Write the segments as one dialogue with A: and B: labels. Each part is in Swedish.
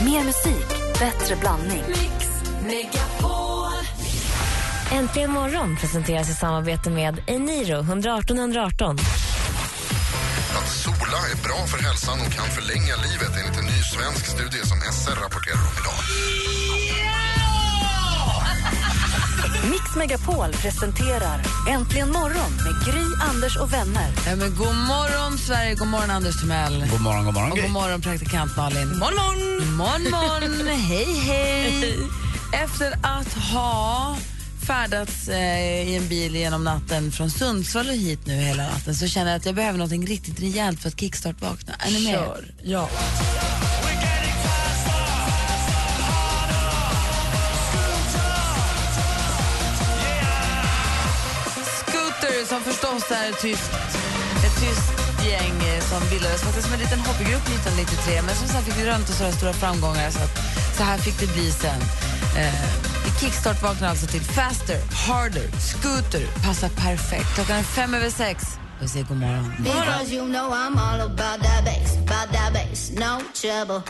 A: Mer musik, bättre blandning.
B: Mix Megapol.
C: Äntligen morgon presenteras i samarbete med Eniro 118 118.
D: Att sola är bra för hälsan och kan förlänga livet enligt en ny svensk studie som SR rapporterar om idag.
A: Mix Megapol presenterar Äntligen morgon med Gry, Anders och vänner.
E: Ja, men god morgon, Sverige. God morgon, Anders Timell.
F: God morgon, god morgon.
E: Och god morgon, praktikant Malin. Morgon, morgon. morgon, morgon. hej, hej. Efter att ha färdats eh, i en bil genom natten från Sundsvall och hit nu hela natten så känner jag att jag behöver något riktigt rejält för att kickstart-vakna. Är ni med?
C: Kör. Ja.
E: Scooter som förstås är typ ett tyskt, ett tyskt gäng eh, som bildades faktiskt som en liten hobbygrupp 1993 men som sen fick rönt så stora framgångar så att så här fick det bli sen. Eh, kickstart vaknar alltså till Faster, Harder, Scooter passar perfekt. Klockan är fem över sex. Vi säger god morgon.
G: Because you know I'm all about that bass, about that bass, no trouble.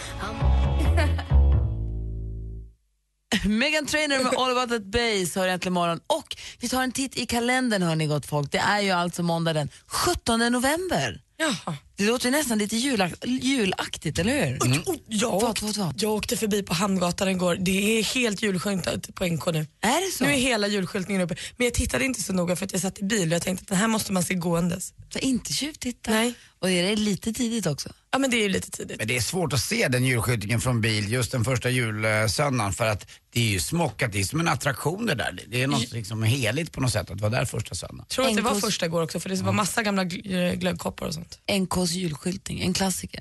E: Megan Trainor med All About That Bass hör äntligen morgon. Och vi tar en titt i kalendern hörni gott folk. Det är ju alltså måndag den 17 november.
H: Jaha.
E: Det låter ju nästan lite julak julaktigt, eller hur?
H: Oh, jag,
E: Vad,
H: åkte,
E: vad, vad?
H: jag åkte förbi på Hamngatan igår. Det är helt julskyltat på NK nu.
E: Är det så?
H: Nu är hela julskyltningen uppe. Men jag tittade inte så noga för att jag satt i bil och jag tänkte att den här måste man se gåendes.
E: Så inte tjuvtitta.
H: Nej.
E: Och är det lite tidigt också?
H: Ja men det är ju lite tidigt.
F: Men det är svårt att se den julskyltningen från bil just den första julsöndagen för att det är ju smockat, det är som en attraktion det där. Det är något liksom heligt på något sätt att vara där första söndagen.
H: Jag tror att det var
E: NKs
H: första igår också för det var massa gamla gl- eh, glöggkoppar och sånt.
E: NKs julskyltning, en klassiker.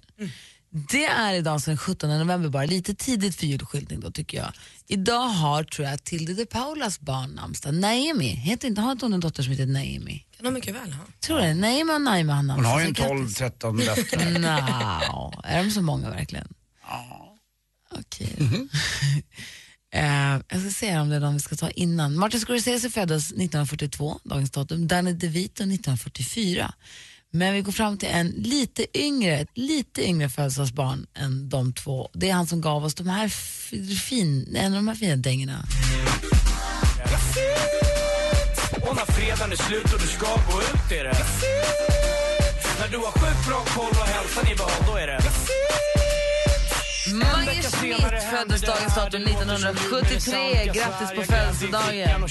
E: Det är idag sedan 17 november, bara lite tidigt för julskyltning då tycker jag. Idag har, tror jag, Tilde de Paulas barn namnsdag. Naomi, heter inte, har inte hon en dotter som heter Naomi?
H: Kan de mycket väl ha.
E: Tror det. Naomi och Naima har
F: Hon
E: namnsdag.
F: har ju en
E: Så grattis.
F: 12-13
E: Mm.
F: döttrar.
E: Nja, är de så många verkligen? Ja. Okej. Eh, jag ska se om det är de vi ska ta innan. Martin Scorsese föddes 1942, dagens datum. Danny DeVito 1944. Men vi går fram till en lite yngre, ett lite yngre födelsedagsbarn än de två. Det är han som gav oss de här f- fin, en av de här fina dängorna.
I: Och när fredagen är slut och du ska gå ut är det När du har sjukt bra koll och hälsan i behåll, då är det
E: Mange Schmidt föddes dagens datum 1973. Grattis på födelsedagen. Vad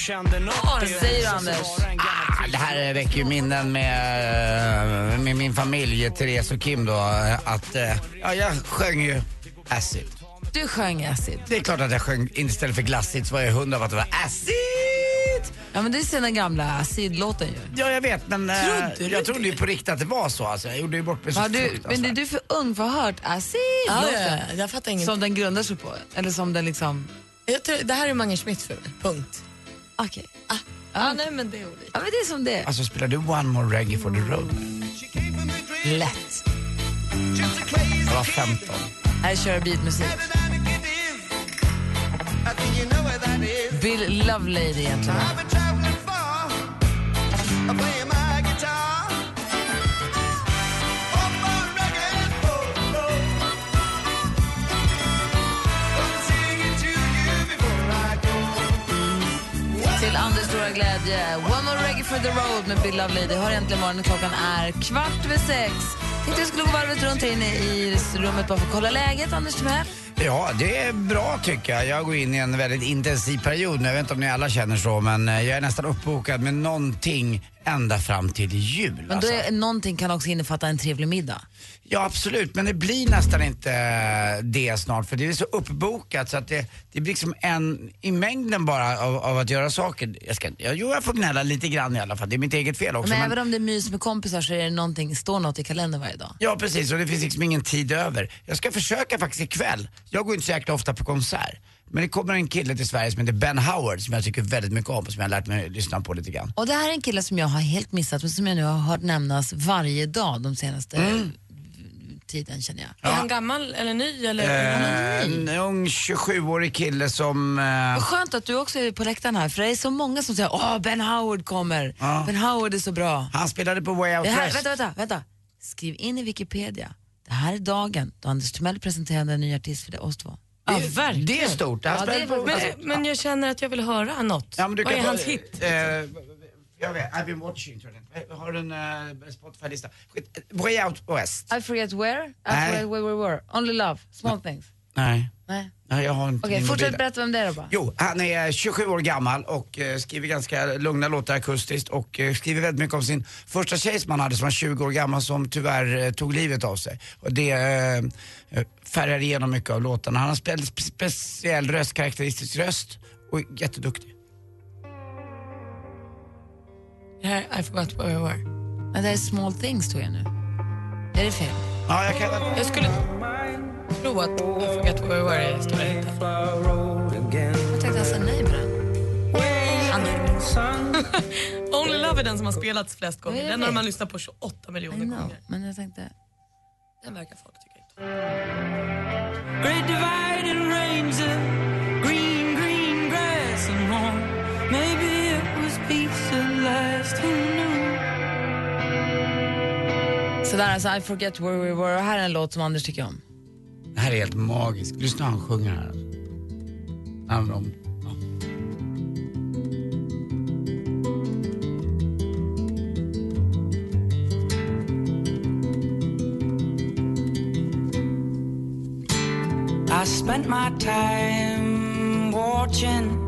E: säger du, Anders?
F: Ah, Det här väcker ju minnen med, eh, med min familj, Therese och Kim då, eh, att eh, ja, jag sjöng ju acid.
E: Du sjöng Acid.
F: Det är klart att jag sjöng, istället för glassigt så var jag hundra av att det var acid.
E: Ja, men det är sina gamla Acid-låten ju.
F: Ja, jag vet, men eh,
H: Trodde du
F: jag trodde ju på riktigt att det var så. Alltså. Jag gjorde ju bort mig så
E: Har du, men är
F: fruktansvärt.
E: du för ung för att ha hört acid
H: Ja, ja, ja. Jag fattar inget.
E: Som den grundar sig på? Eller som den liksom...
H: Jag tror, det här är Mange Schmidt för mig. Punkt.
E: Okej. Ah.
H: Ja, nej men det är olika.
E: Ja, men det är som det är.
F: Alltså spelar du One More Reggae for the Road?
E: Lätt.
F: Jag var 15.
E: Här kör jag beatmusik. Bill Lovelady egentligen. Till Anders stora glädje. One more reggae for the road med Bill Lovelady. Hör äntligen morgonen. Klockan är kvart över sex. Tänkte jag skulle gå varvet runt här inne i rummet bara för att kolla läget, Anders Timell.
F: Ja, det är bra tycker jag. Jag går in i en väldigt intensiv period nu. Jag vet inte om ni alla känner så, men eh, jag är nästan uppbokad med någonting ända fram till jul.
E: Men då
F: alltså.
E: är, någonting kan också innefatta en trevlig middag.
F: Ja, absolut. Men det blir nästan inte eh, det snart för det är så uppbokat så att det, det blir liksom en i mängden bara av, av att göra saker. Jag ska, ja, jo, jag får gnälla lite grann i alla fall. Det är mitt eget fel också.
E: Men
F: men-
E: även om det är mys med kompisar så är det någonting, står något i kalendern varje dag.
F: Ja precis och det finns liksom ingen tid över. Jag ska försöka faktiskt ikväll. Jag går inte så jäkla ofta på konsert. Men det kommer en kille till Sverige som heter Ben Howard som jag tycker väldigt mycket om och som jag har lärt mig att lyssna på lite grann.
E: Och det här är en kille som jag har helt missat men som jag nu har hört nämnas varje dag de senaste
F: Mm.
E: tiden känner jag.
H: Är han gammal eller ny? Eller?
F: Eh, en
E: Mm.
F: ung 27-årig kille som...
E: Vad
F: Eh,
E: skönt att du också är på läktaren här för det är så många som säger åh Ben Howard kommer,
F: Ja.
E: Ben Howard är så bra.
F: han spelade på Way Out
E: Det här,
F: West.
E: vänta, vänta, vänta. Skriv in i Wikipedia. Det här är dagen då Anders Timell presenterade en ny artist för det, oss två. Ja,
F: Det-
E: verkligen.
F: Det är stort. Han
E: Ja, det
F: spelar
E: är
F: på-
E: väl-
H: Men, men jag känner att jag vill höra något.
F: Ja, men du
H: Vad
F: kan
H: är
F: ta-
H: hans hit?
F: Eh, jag vet, I've been watching, tror jag. Jag Har en eh, Spotify-lista. Skit, eh, Way Out West.
E: I forget where, I
F: Nej.
E: forget where we were. Only love, small things.
F: Nej.
E: Nej.
F: Nej, jag har inte
E: Okej,
F: min
E: fortsätt
F: mobil.
E: berätta vem det är då bara.
F: Jo, han är 27 år gammal och eh, skriver ganska lugna låtar akustiskt och eh, skriver väldigt mycket om sin första tjej som han hade som var 20 år gammal som tyvärr eh, tog livet av sig. Och det eh, färgar igenom mycket av låtarna. Han har spe spe- speciell röst, karaktäristisk röst och är jätteduktig.
H: Det här, I forgot where we were.
E: Nej, det är small things tror jag nu. Är det fel?
F: Ja, jag kan...
H: Jag skulle tro att I forgot where we were är stora hiten.
E: Jag tänkte han sa nej på den.
H: Only Love är den som har spelats flest
E: Ja,
H: gånger.
E: jag
H: Den har
E: vet.
H: man lyssnat på 28
E: I
H: miljoner
E: know,
H: gånger.
E: men jag tänkte...
H: Den verkar folk tycka inte om.
I: Great divide and rains of green, green grass and more. Maybe it was peace at last, who knew?
E: Så där alltså, I forget where we were. Och här är en låt som Anders tycker om.
F: Det här är helt magiskt. Lyssna hur han sjunger här. Alltså. Han om... ja.
I: I spent my time watching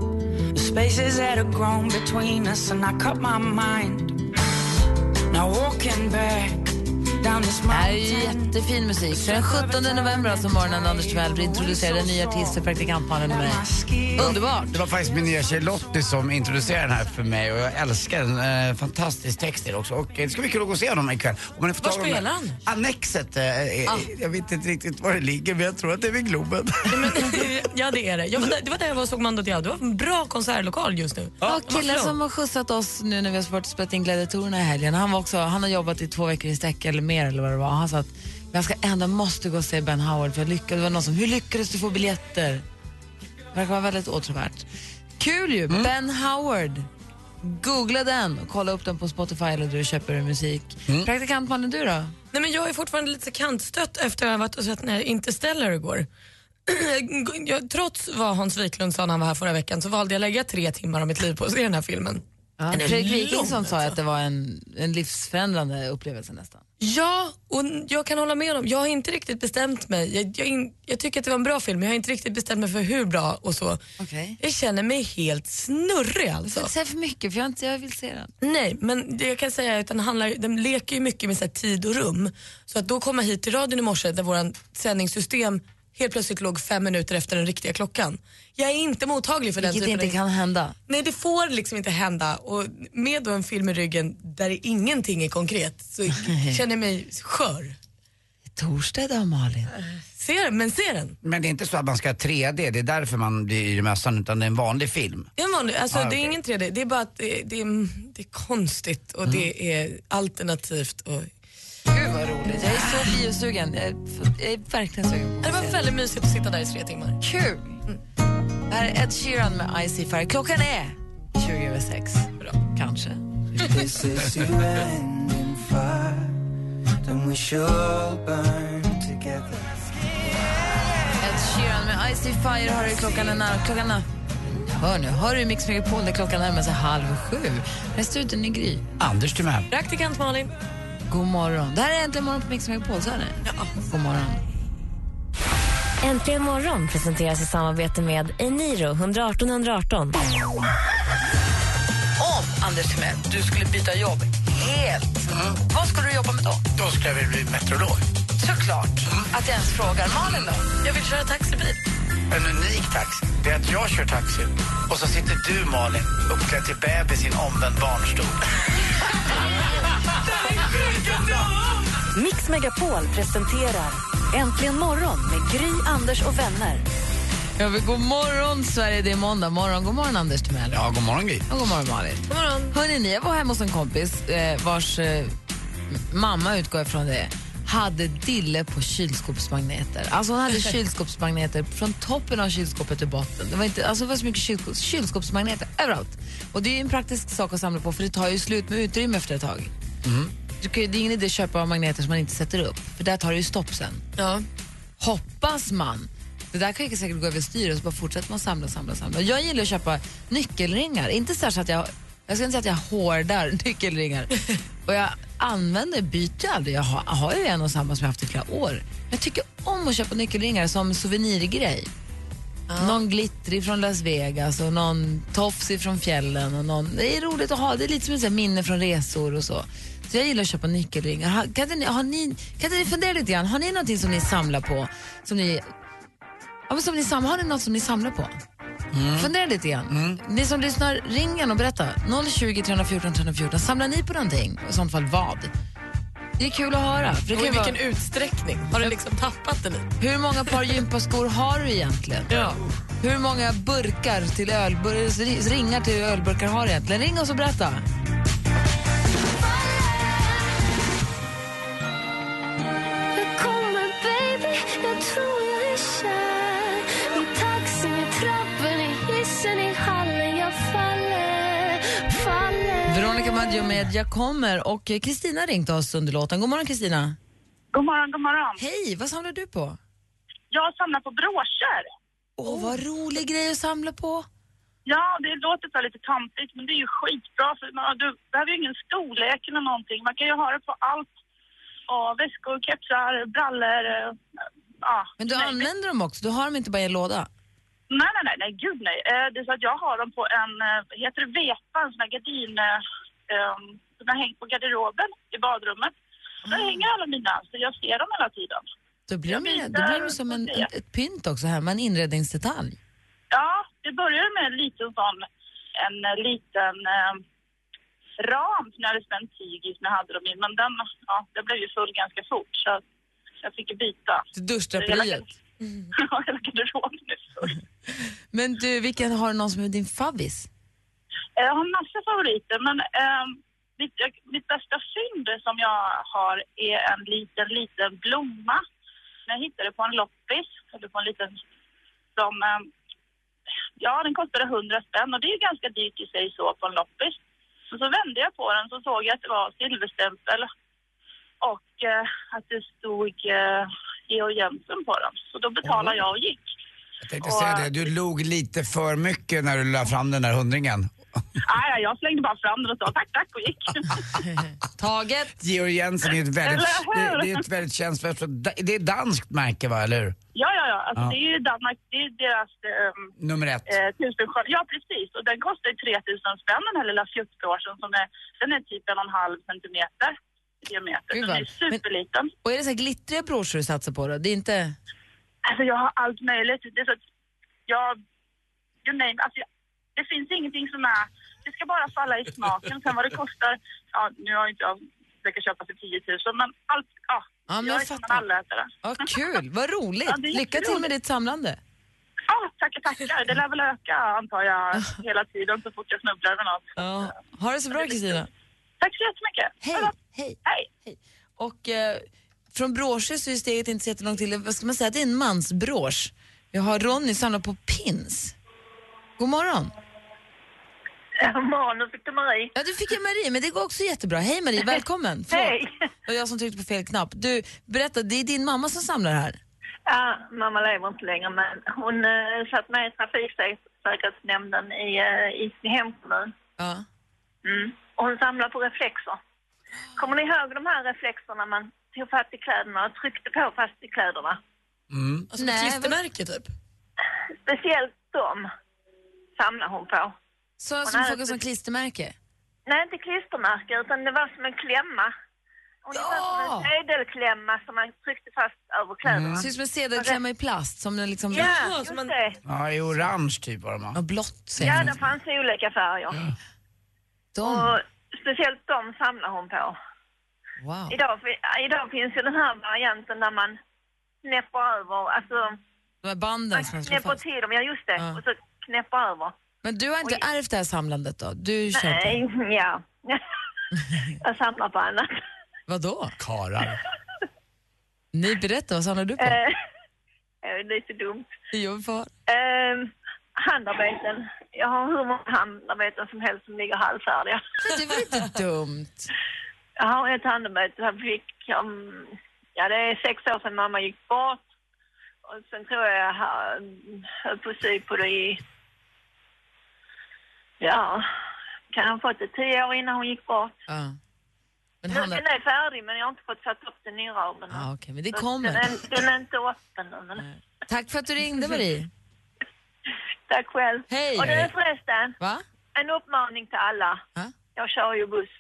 I: the spaces that have grown between us, and I cut my mind. Now walking back down this
E: Det här är ju
I: mountain.
E: jättefin musik. Så den 17 november, alltså morgonen när Anders Tvell blir introducerad en ny artist för Praktikantmannen och mig. Underbart!
F: Det var faktiskt min nya tjej Lottie som introducerade den här för mig och jag älskar den. Eh, fantastisk text är det också. Och eh, det ska bli kul att gå och se honom ikväll. Om man får
H: Var
F: tag i
H: spelar Ah.
F: honom. Annexet. Eh, eh, Jag vet inte riktigt var det ligger men jag tror att det är vid Globen.
H: ja, det är det. Jag var där, det var där jag var och såg Mando Diao. Det var en bra konsertlokal just nu.
E: Ja,
H: Varför
E: killen
H: då?
E: som har skjutsat oss nu när vi har varit och spelat in Gladiatorerna i helgen, han, var också, han har jobbat i två veckor i sträck eller mer eller vad det var. Han sa att jag ska ändå måste gå och se Ben Howard för jag lyckades. Det var någon som, hur lyckades du få biljetter? Det verkar vara väldigt åtråvärt. Kul ju! Ben Howard. Googla den och kolla upp den på Spotify eller där du köper musik. Praktikantmannen, du då?
H: Nej, men jag är fortfarande lite kantstött efter att ha varit och sett när inte ställer igår. jag, trots vad Hans Wiklund sa när han var här förra veckan så valde jag att lägga tre timmar av mitt liv på att se den här filmen.
E: Ja,
H: Den är
E: Fredrik
H: lång,
E: Wikingsson sa ju att
H: alltså.
E: det var en, en livsförändrande upplevelse nästan.
H: Ja, och jag kan hålla med om. Jag har inte riktigt bestämt mig. Jag, jag, in- jag tycker att det var en bra film men jag har inte riktigt bestämt mig för hur bra och så.
E: Okej.
H: Jag känner mig helt snurrig
E: Jag vill
H: alltså.
E: inte säga för mycket för jag, har inte, jag vill se den.
H: Nej, men det jag kan säga är att den, handlar, den leker ju mycket med så här tid och rum. Så att då komma hit till radion i morse där vårt sändningssystem helt plötsligt låg fem minuter efter den riktiga klockan. Jag är inte mottaglig för den
E: Vilket
H: typen
E: inte
H: av...
E: kan hända.
H: Nej, det får liksom inte hända. Och med då en film i ryggen där ingenting är konkret så känner jag mig skör.
E: Torsdag idag, Malin.
H: Ser, men ser den.
F: Men det är inte så att man ska ha 3D, det är därför man blir yr i mössan utan det är en vanlig film.
H: Det är, en vanlig, alltså,
F: Ah,
H: det
F: okej.
H: är ingen 3D, det är bara att det, det, är, det är konstigt
F: Mm.
H: och det är alternativt. Och...
E: Gud vad roligt. Jag är så biosugen. Jag är, f- jag är verkligen sugen Mm. på
H: Det
E: att
H: var
E: se den.
H: väldigt mysigt att sitta där i tre timmar.
E: Kul! Det här är Ed Sheeran med Icy Fire. Klockan är 20 över 6. Kanske. Ed Sheeran med Icy Fire har du klockan är nära. Klockan är... Hör nu, hör du Mix Megapol där klockan närmar sig halv sju. Här är studion i Gry.
F: Anders Timell.
H: Praktikant Malin.
E: God morgon. Det här är Äntligen morgon på Mix Megapol, så är det? Ja. God morgon.
C: Äntligen morgon presenteras i samarbete med Eniro 118 118.
E: Om, Anders Timell, du skulle byta jobb helt, vad skulle du jobba med då?
F: Då ska jag väl bli meteorolog. Mm.
E: Såklart. Att jag ens frågar. Malin då?
H: Jag vill köra taxibil.
F: En unik taxi, det är att jag kör taxi och så sitter du Malin uppklädd till bebis i en omvänd barnstol.
A: Mix Megapol presenterar Äntligen morgon med Gry, Anders och vänner.
E: Ja, men god morgon, Sverige. Det är måndag morgon. God morgon, Anders Timell.
F: Ja, god morgon Gry.
E: Och god morgon, Malin.
H: God morgon.
E: Hörrni, ni, jag var hemma hos en kompis eh, vars eh, m- mamma, utgår jag från det, hade dille på kylskåpsmagneter. Alltså hon hade kylskåpsmagneter från toppen av kylskåpet till botten. Det var, inte, alltså det var så mycket kylskåp, kylskåpsmagneter överallt. Och det är ju en praktisk sak att samla på för det tar ju slut med utrymme efter ett tag. Du kan, ju- det är ingen idé att köpa magneter som man inte sätter upp, för där tar det ju stopp sen
H: Ja.
E: hoppas man Det där kan ju säkert gå överstyr och så bara fortsätter man samla, samla, samla. Jag gillar att köpa nyckelringar. Inte så här så att jag, jag ska inte säga att jag hårdar nyckelringar. och jag använder, byter jag aldrig. Jag har, har ju en och samma som jag haft i flera år. Men jag tycker om att köpa nyckelringar som souvenirgrej. Någon glittrig från Las Vegas och någon tofs från fjällen. Och någon, det är roligt att ha, det är lite som ett så här minne från resor och så. Så jag gillar att köpa nyckelringar. Har, kan, inte ni, har ni, kan inte ni fundera lite grann, har ni någonting som ni samlar på? Som ni, ja, men som ni, sam- har ni något som ni samlar på? Fundera lite grann. Ni som lyssnar, ring gärna och berätta. 020 314 314. Samlar ni på någonting? Och I sånt fall vad? Det är kul att höra. För det
H: Och
E: kan
H: i
E: ju vara,
H: vilken utsträckning? Har du liksom tappat det lite?
E: hur många par gympaskor har du egentligen?
H: Ja.
E: Hur många burkar till ölbur- ringar till ölburkar har du egentligen? Ring oss och berätta. Veronica Maggio med Jag kommer och Kristina ringt oss under låten. God morgon Kristina.
J: God morgon, god morgon.
E: Hej, vad samlar du på?
J: Jag samlar på broscher.
E: Åh,
J: Oh.
E: vad rolig grej att samla på.
J: Ja, det låter så här lite tantigt, men det är ju skitbra för man, du behöver ju ingen storlek eller någonting. Man kan ju ha det på allt. Ja, väskor, kepsar, brallor. eh, Ja.
E: Men du
J: nej,
E: använder dem också, du har dem inte bara i en låda.
J: Nej, nej, nej, nej, gud nej. Eh, Det är så att jag har dem på en, eh, vad heter det vepa, en sån här gardin eh, ehm, som jag hängt på garderoben i badrummet. Och Där hänger alla mina, så jag ser dem hela tiden.
E: Då blir de, ju-
J: Jag
E: då blir de
J: visar
E: som en,
J: och ser.
E: en, ett pynt också hemma, en inredningsdetalj.
J: Ja, det började med en liten sån, en eh, liten eh, ram som jag hade spänt tyg i som jag hade dem i. Men den, ja, den blev ju full ganska fort så att jag fick ju byta.
E: Till duschdraperiet.
J: Ja, Hela garderoben är full.
E: Men du, vilken har du någon som är din favvis?
J: Eh, Jag har massa favoriter, men eh, mitt, jag, mitt bästa fynd som jag har är en liten, liten blomma. som Jag hittade på en loppis, eller på en liten som, eh, ja den kostade 100 spänn och det är ju ganska dyrt i sig så på en loppis. Men så vände jag på den så såg jag att det var silverstämpel och eh, att det stod eh, Georg Jensen på den. Så då betalade jag och gick.
F: Jag tänkte säga det, du log lite för mycket när du la fram den där hundringen.
J: Nej, nej, jag slängde bara fram den och sa tack, tack och gick.
E: Taget!
F: Georg Jensen är ett väldigt,
J: Eller
F: det,
J: hur?
F: det är ett väldigt känsligt, för- det är ett danskt märke va, eller hur?
J: Ja, ja, ja. Alltså,
F: Ja.
J: Det är ju Danmark, det är ju deras ehm,
F: Nummer ett.
J: eh, tusenskörd. Ja, precis. Och den kostar ju 3000 spänn, den här lilla fjuttbråsen som är, den är typ en och en halv centimeter i diameter.
E: Gud,
J: Den är
E: vad-
J: superliten.
E: Och är det så här glittriga broschyrer du satsar på då? Det är inte...
J: Alltså jag har allt möjligt. Det är så att jag, you name, alltså jag, det finns ingenting som är, det ska bara falla i smaken. Sen vad det kostar, ja nu har ju inte jag försökt köpa för 10 000 men allt, ja.
E: Ja, men
J: jag
E: jag
J: är som en
E: fattar.
J: allätare.
E: Ja, kul, vad roligt!
J: Ja, det är
E: Lycka till med
J: jätteroligt.
E: ditt samlande.
J: Ja, tackar, tackar. Det lär väl öka antar jag hela tiden så fort jag snubblar över något.
E: Ja. Ha det så bra Kristina.
J: Tack så jättemycket.
E: Hej, hej.
J: Hej.
E: Och eh, från broscher så är steget inte så jättelångt till. Vad ska man säga? Det är en mansbrosch. Jag har Ronny samlar på pins. God morgon.
J: Manus fick du Marie.
E: Ja, du fick jag Marie, men det går också jättebra. Hej Marie, välkommen. Förlåt.
J: Hej.
E: Det var jag som tryckte på fel knapp. Du, berätta, det är din mamma som samlar här.
J: Ja, mamma lever inte längre men hon eh, satt med i trafiksäkerhetsnämnden i, eh, i sin hemkommun.
E: Ja.
J: Mm. Och hon samlar på reflexer. Kommer ni ihåg de här reflexerna man tog fast i kläderna och tryckte på fast i kläderna?
H: Alltså med
E: Nej,
H: klistermärke typ?
J: Speciellt de samlar hon på.
E: Så som
J: nej,
E: funkar
J: det-
E: som klistermärke.
J: Nej, inte klistermärke utan det var som en klämma. Ungefär som
E: Ja!
J: en sedelklämma som man tryckte fast över kläderna.
E: Ser ut som en sedelklämma i plast som den liksom...
J: Ja,
H: så
J: just
H: alltså, man-
J: det.
F: Ja, i orange typ var de va?
E: Ja, blått säger
J: Ja,
E: man.
J: det fanns i olika färger.
E: De.
J: Och speciellt de samlar hon på.
E: Wow.
J: Idag, fi- idag finns ju den här varianten där man knäpper över, alltså
E: De här banden som
J: man
E: man slår
J: knäpper
E: fast.
J: till dem, ja just det,
E: Ja.
J: och så knäpper över.
E: Men du har inte ärvt det här samlandet då? Du kör på.
J: Nej, ja. Jag samlar på annat.
E: Vadå?
F: Karar.
E: Nej, berätta, vad samlar du på?
J: Eh, det är så dumt.
E: Jag får...
J: Eh, handarbeten. Jag har hur många handarbeten som helst som ligger halvfärdiga.
E: Det var inte dumt.
J: Jag har ett handarbete som fick, um, ja det är sex år sedan mamma gick bort. Och sen tror jag jag ha- höll på att sy på det i... Ja, kan ha fått det tio år innan hon gick bort.
E: Ja. Men
J: Men
E: Hanna,
J: Den är färdig men jag har inte fått sätta upp den i ramen.
E: Ja, okej, men det
J: Så
E: kommer.
J: Den är, den är inte öppen än, men
E: tack för att du ringde Marie.
J: Tack själv.
E: Hej.
J: Och
E: Hej.
J: nu förresten,
E: Va?
J: en uppmaning till alla. Jag kör ju buss.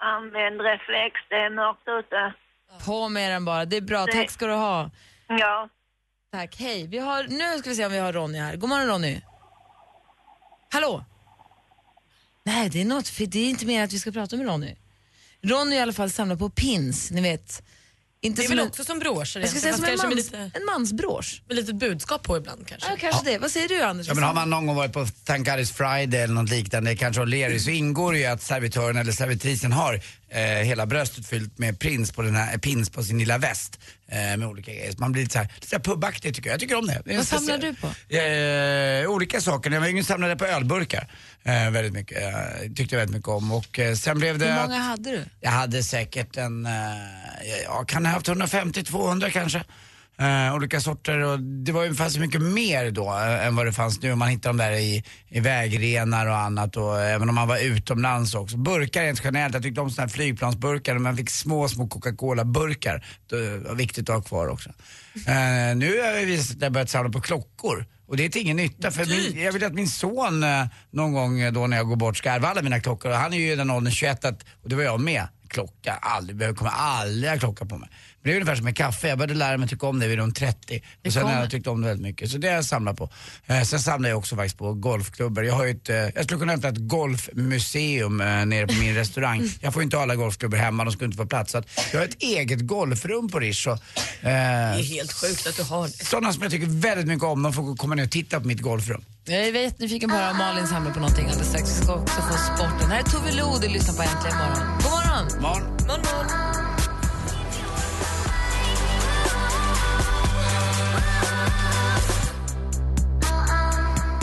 J: Använd reflex, det är mörkt ute.
E: På med den bara, det är bra. Tack ska du ha.
J: Ja.
E: Tack, hej. Vi har, nu ska vi se om vi har Ronny här. God morgon Ronny. Hallå? Nej, det är något, för det är inte mer att vi ska prata med Ronny. Ronny i alla fall samlar på pins, ni vet. Inte
H: Det är
E: som
H: väl
E: en-
H: också som broscher
E: Jag ska
H: egentligen,
E: säga
H: fast
E: som en,
H: kanske med
E: mans,
H: lite-
E: en mansbrosch.
H: Med litet budskap på ibland kanske.
E: Ja, kanske det. Vad säger du Anders?
F: Ja, men har man någon gång varit på Tankaris Friday eller något liknande, kanske O'Leary, så ingår det ju att servitören eller servitrisen har eh, hela bröstet fyllt med prins på, den här, eh, pins på sin lilla väst eh, med olika grejer. Så man blir lite så här, lite så här pubaktig tycker jag. Jag tycker om det. det är
E: Vad samlar du
F: speciell-
E: på?
F: Eh, olika saker. När jag var yngre samlade jag på ölburkar. Eh, väldigt mycket. Eh, tyckte jag väldigt mycket om. Och eh, sen blev det...
E: Hur
F: att-
E: många hade du?
F: jag hade säkert en, eh, ja, kan ha haft 150-200 kanske. Eh, olika sorter och det var ju fanns ju mycket mer då eh, än vad det fanns nu. Man hittade dem där i, i vägrenar och annat och även om man var utomlands också. Burkar rent generellt, jag tyckte om sådana här flygplansburkar och man fick små, små Coca-Cola-burkar. Det var viktigt att ha kvar också. Eh, nu har vi att jag börjat samla på klockor och det är till ingen nytta för min, jag vill att min son eh, någon gång eh, då när jag går bort ska ärva alla mina klockor och han är ju i den åldern 21 att, och det var jag med klocka, aldrig, jag kommer aldrig ha klocka på mig. Men det är ungefär som med kaffe, jag började lära mig tycka om det vid de 30 och sen har jag tyckt om det väldigt mycket. Så det har jag samlat på. Eh, sen samlar jag också faktiskt på golfklubbor. Jag har ju ett, eh, jag skulle kunna öppna ett golfmuseum eh, nere på min restaurang. Jag får ju inte ha alla golfklubbor hemma, de skulle inte få plats. Så att jag har ett eget golfrum på Rish. och,
H: Det
F: Eh,
H: är helt sjukt att du har det.
F: sådana som jag tycker väldigt mycket om, de får komma ner och titta på mitt golfrum.
E: Jag är jättenyfiken på att höra om Malin samlar på någonting alldeles strax. Vi ska också få sporten. Här är Tove Lo, du lyssnar på Äntligen morgon. God morgon!
F: Morgon.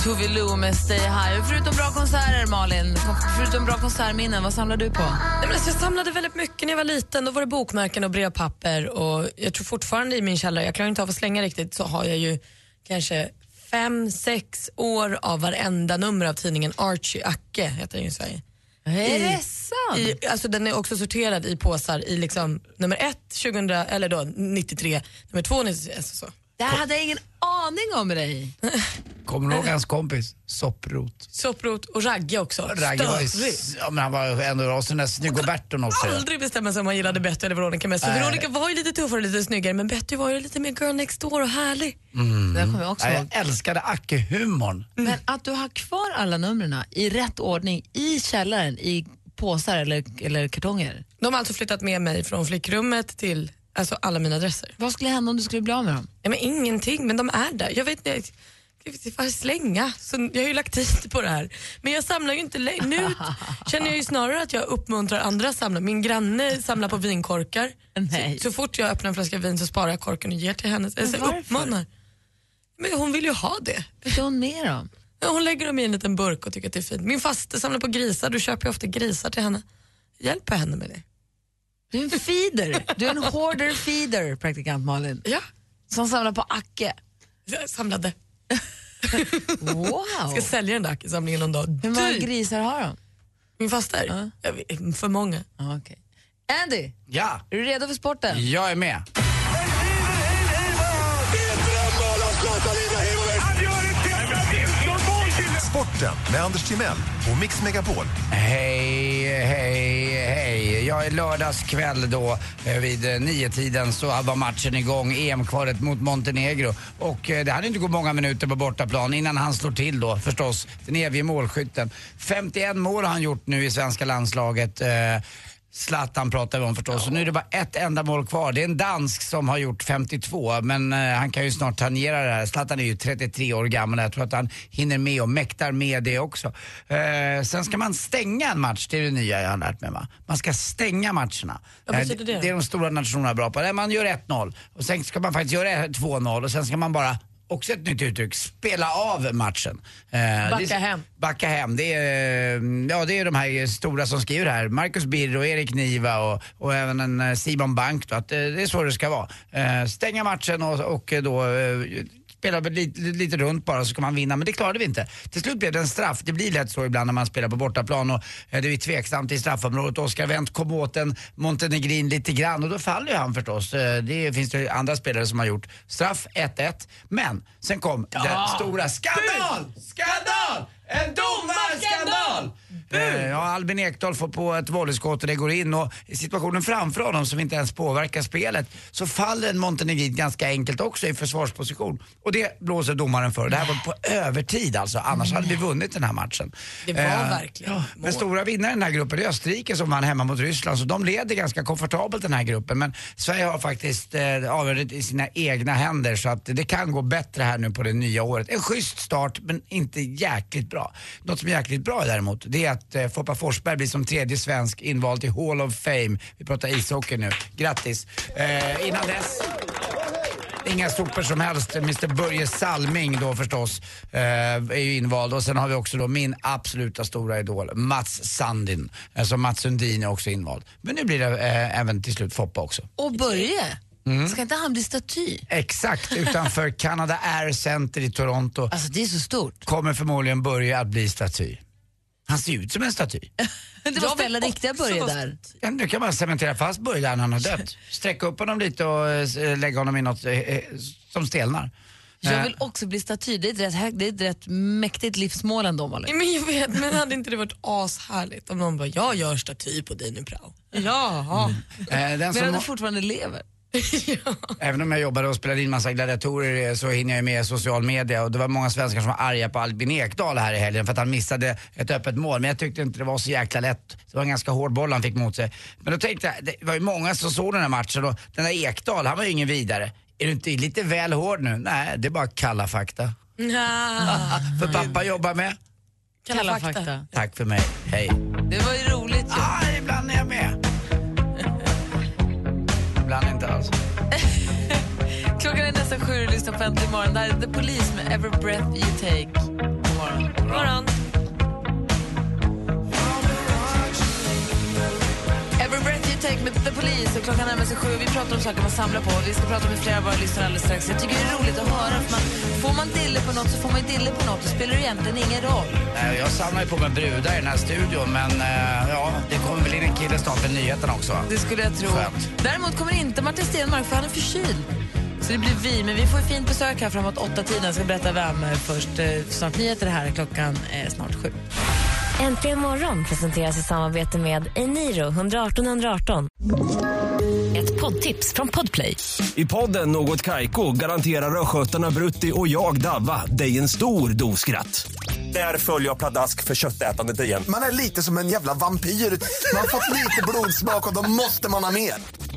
E: Tove Lo med Stay High. Och Förutom bra konserter, Malin, kom- förutom bra konsertminnen, vad samlar du på?
H: Nej, men alltså, jag samlade väldigt mycket när jag var liten. Då var det bokmärken och brevpapper. Och jag tror fortfarande i min källare, jag klarar inte av att slänga riktigt, så har jag ju kanske fem, sex år av varenda nummer av tidningen Archie Acke, heter den ju i Sverige.
E: Är
H: I-
E: det sant?
H: I, alltså den är också sorterad i påsar i liksom nummer ett, 2000, eller då 93, nummer två, 93, alltså så.
E: Det här hade jag ingen aning om med dig.
F: Kommer du ihåg hans kompis? Sopprot.
H: Sopprot och Ragge också.
F: Ragge var ju,
H: Störig.
F: ja, men han var ändå av sån där snygg och Berton också.
H: aldrig bestämma sig om man gillade Betty eller Veronica mest. För
F: Nej.
H: Veronica var ju lite tuffare och lite snyggare men Betty var ju lite mer girl next door och härlig.
E: Det här kommer jag också
F: Mm. Nej,
E: ihåg.
F: Mm. jag älskade Acke-humorn.
E: Men att du har kvar alla numren i rätt ordning i källaren i påsar eller, eller kartonger.
H: De har alltså flyttat med mig från flickrummet till alltså, alla mina adresser.
E: Vad skulle hända om du skulle bli av med dem?
H: Nej, men ingenting, men de är där. Jag vet inte, jag vet inte vad jag ska slänga. Så jag har ju lagt tid på det här. Men jag samlar ju inte längre. Nu känner jag ju snarare att jag uppmuntrar andra att samla. Min granne samlar på vinkorkar.
E: Nej.
H: Så, så fort jag öppnar en flaska vin så sparar jag korken och ger till henne. Alltså,
E: varför?
H: uppmanar. Men hon vill ju ha det.
E: Vad gör hon med dem?
H: Ja, Hon lägger dem i en liten burk och tycker att det är fint. Min faste samlar på grisar, då köper jag ofta grisar till henne. Hjälper henne med det.
E: Du är en feeder. Du är en hoarder feeder, praktikant Malin.
H: Ja,
E: Som samlar på Acke.
H: jag samlade.
E: Wow.
H: Ska sälja den där ackersamlingen någon dag.
E: Hur många
H: Du,
E: grisar har de?
H: min faster? Jag vet, För många.
E: Ah, okay. Andy,
F: Ja,
E: är du redo för sporten?
F: jag är med.
K: Sporten med Anders Timell och Mix Megapol.
F: Hej, hej, hej. Ja, i lördagskväll då eh, vid eh, niotiden så var matchen igång, EM-kvalet mot Montenegro. Och eh, det hade inte gått många minuter på bortaplan innan han slår till då förstås, den evige målskytten. 51 mål har han gjort nu i svenska landslaget. Eh, Zlatan pratar vi om förstås. Och nu är det bara ett enda mål kvar. Det är en dansk som har gjort 52, men eh, han kan ju snart tangera det här. Zlatan är ju 33 år gammal. Jag tror att han hinner med och mäktar med det också. Eh, sen ska man stänga en match, det är det nya jag har lärt mig va? Man ska stänga matcherna.
H: Vad
F: Eh,
H: betyder det?
F: det är de stora nationerna bra på. Nej, Man gör 1-0 och sen ska man faktiskt göra 2-0 och sen ska man bara också ett nytt uttryck, spela av matchen. Eh, det
H: Backa
F: är,
H: hem.
F: Backa hem. Det är, eh, ja, det är de här stora som skriver här. Marcus Birro, Erik Niva och, och även en eh, Simon Bank. Då, att eh, det är så det ska vara. Eh, stänga matchen och, och eh, då eh, spela väl lite, lite runt bara så kan man vinna. Men det klarade vi inte. Till slut blev det en straff. Det blir lätt så ibland när man spelar på bortaplan och eh, det är tveksamt i straffområdet. Oskar Wendt kom åt en Montenegrin lite grann och då faller ju han förstås. Eh, Det finns det andra spelare som har gjort. Straff 1-1. Men sen kom den stora skandal! Skandal! En domarskandal! Eh, Ja, Albin Ekdal får på ett volleyskott och det går in och i situationen framför honom som inte ens påverkar spelet så faller en Montenegrin ganska enkelt också i försvarsposition. Och det blåser domaren för. Det här var på övertid alltså, annars hade vi vunnit den här matchen. Eh,
H: Det var verkligen
F: ja, Men stora vinnare i den här gruppen är Österrike som vann hemma mot Ryssland så de leder ganska komfortabelt den här gruppen. Men Sverige har faktiskt eh, avgörandet i sina egna händer så att det kan gå bättre här nu på det nya året. En schysst start men inte jäkligt bra. Något som är jäkligt bra däremot det är att eh, Foppa Forsberg blir som tredje svensk invald till Hall of Fame. Vi pratar ishockey nu. Grattis! Eh, innan dess Inga sopor som helst. Mr Börje Salming då förstås eh, är ju invald. Och sen har vi också då min absoluta stora idol, Mats Sandin. Alltså Mats Sundin är också invald. Men nu blir det eh, även till slut Foppa också.
E: Och Börje, ska inte han bli staty?
F: Exakt, utanför Canada Air Center i Toronto.
E: Alltså det är så stort.
F: Kommer förmodligen Börje att bli staty. Han ser ut som en staty.
E: Det var ställa riktiga Börje där.
F: Ja, nu kan man cementera fast Börje där när han har dött. Sträcka upp honom lite och eh, lägga honom i något eh, eh, som stelnar.
E: Jag
F: Eh,
E: vill också bli staty. Det är ett rätt, högt- det är ett rätt mäktigt livsmål ändå, Malin.
H: Men jag vet, men hade inte det varit ashärligt om någon bara, jag gör staty på dig nu Prao. Jaha.
F: eh, den
E: Medan
F: som-
E: du fortfarande lever.
F: Även om jag jobbade och spelade in massa gladiatorer eh, så hinner jag ju med social media och det var många svenskar som var arga på Albin Ekdal här i helgen för att han missade ett öppet mål. Men jag tyckte inte det var så jäkla lätt. Det var en ganska hård boll han fick mot sig. Men då tänkte jag, det var ju många som såg den här matchen och den där Ekdal, han var ju ingen vidare. Är du inte lite väl hård nu? Nej, det är bara kalla fakta.
H: Nja.
F: För pappa jobbar med.
H: Kalla, fakta.
F: Tack för mig, hej.
E: Det var ju roligt ju.
F: Ah, ibland är jag med. ibland inte alls.
E: Klockan är nästan sju och du lyssnar på Äntligen morgon. Det här är The Police med Every Breath You Take. God morgon.
H: God morgon.
E: Every Breath You Take med The Police. Och klockan närmar sig sju och vi pratar om saker man samlar på. Vi ska prata med flera av våra lyssnare alldeles strax. Jag tycker det är roligt att höra. För man, får man dille på något så får man ju dille på något. Det spelar det egentligen ingen roll.
F: Nej, Jag samlar ju på mig brudar i den här studion men eh, ja, det kommer väl in en kille snart med nyheten också.
E: Det skulle jag tro.
F: Skönt.
E: Däremot kommer inte Martin Stenmark för han är förkyld. Så det blir vi, men vi får ett fint besök här framåt åtta tiden. Jag ska berätta vem eh, först. eh, Snart nyheter här, klockan är snart sju.
C: Äntligen morgon presenteras i samarbete med Eniro 118 118. Ett poddtips från Podplay.
L: I podden Något Kaiko garanterar östgötarna Brutti och jag, Davva, dig en stor dos skratt. Där följer jag pladask för köttätandet igen.
K: Man är lite som en jävla vampyr. Man har fått lite blodsmak och då måste man ha mer.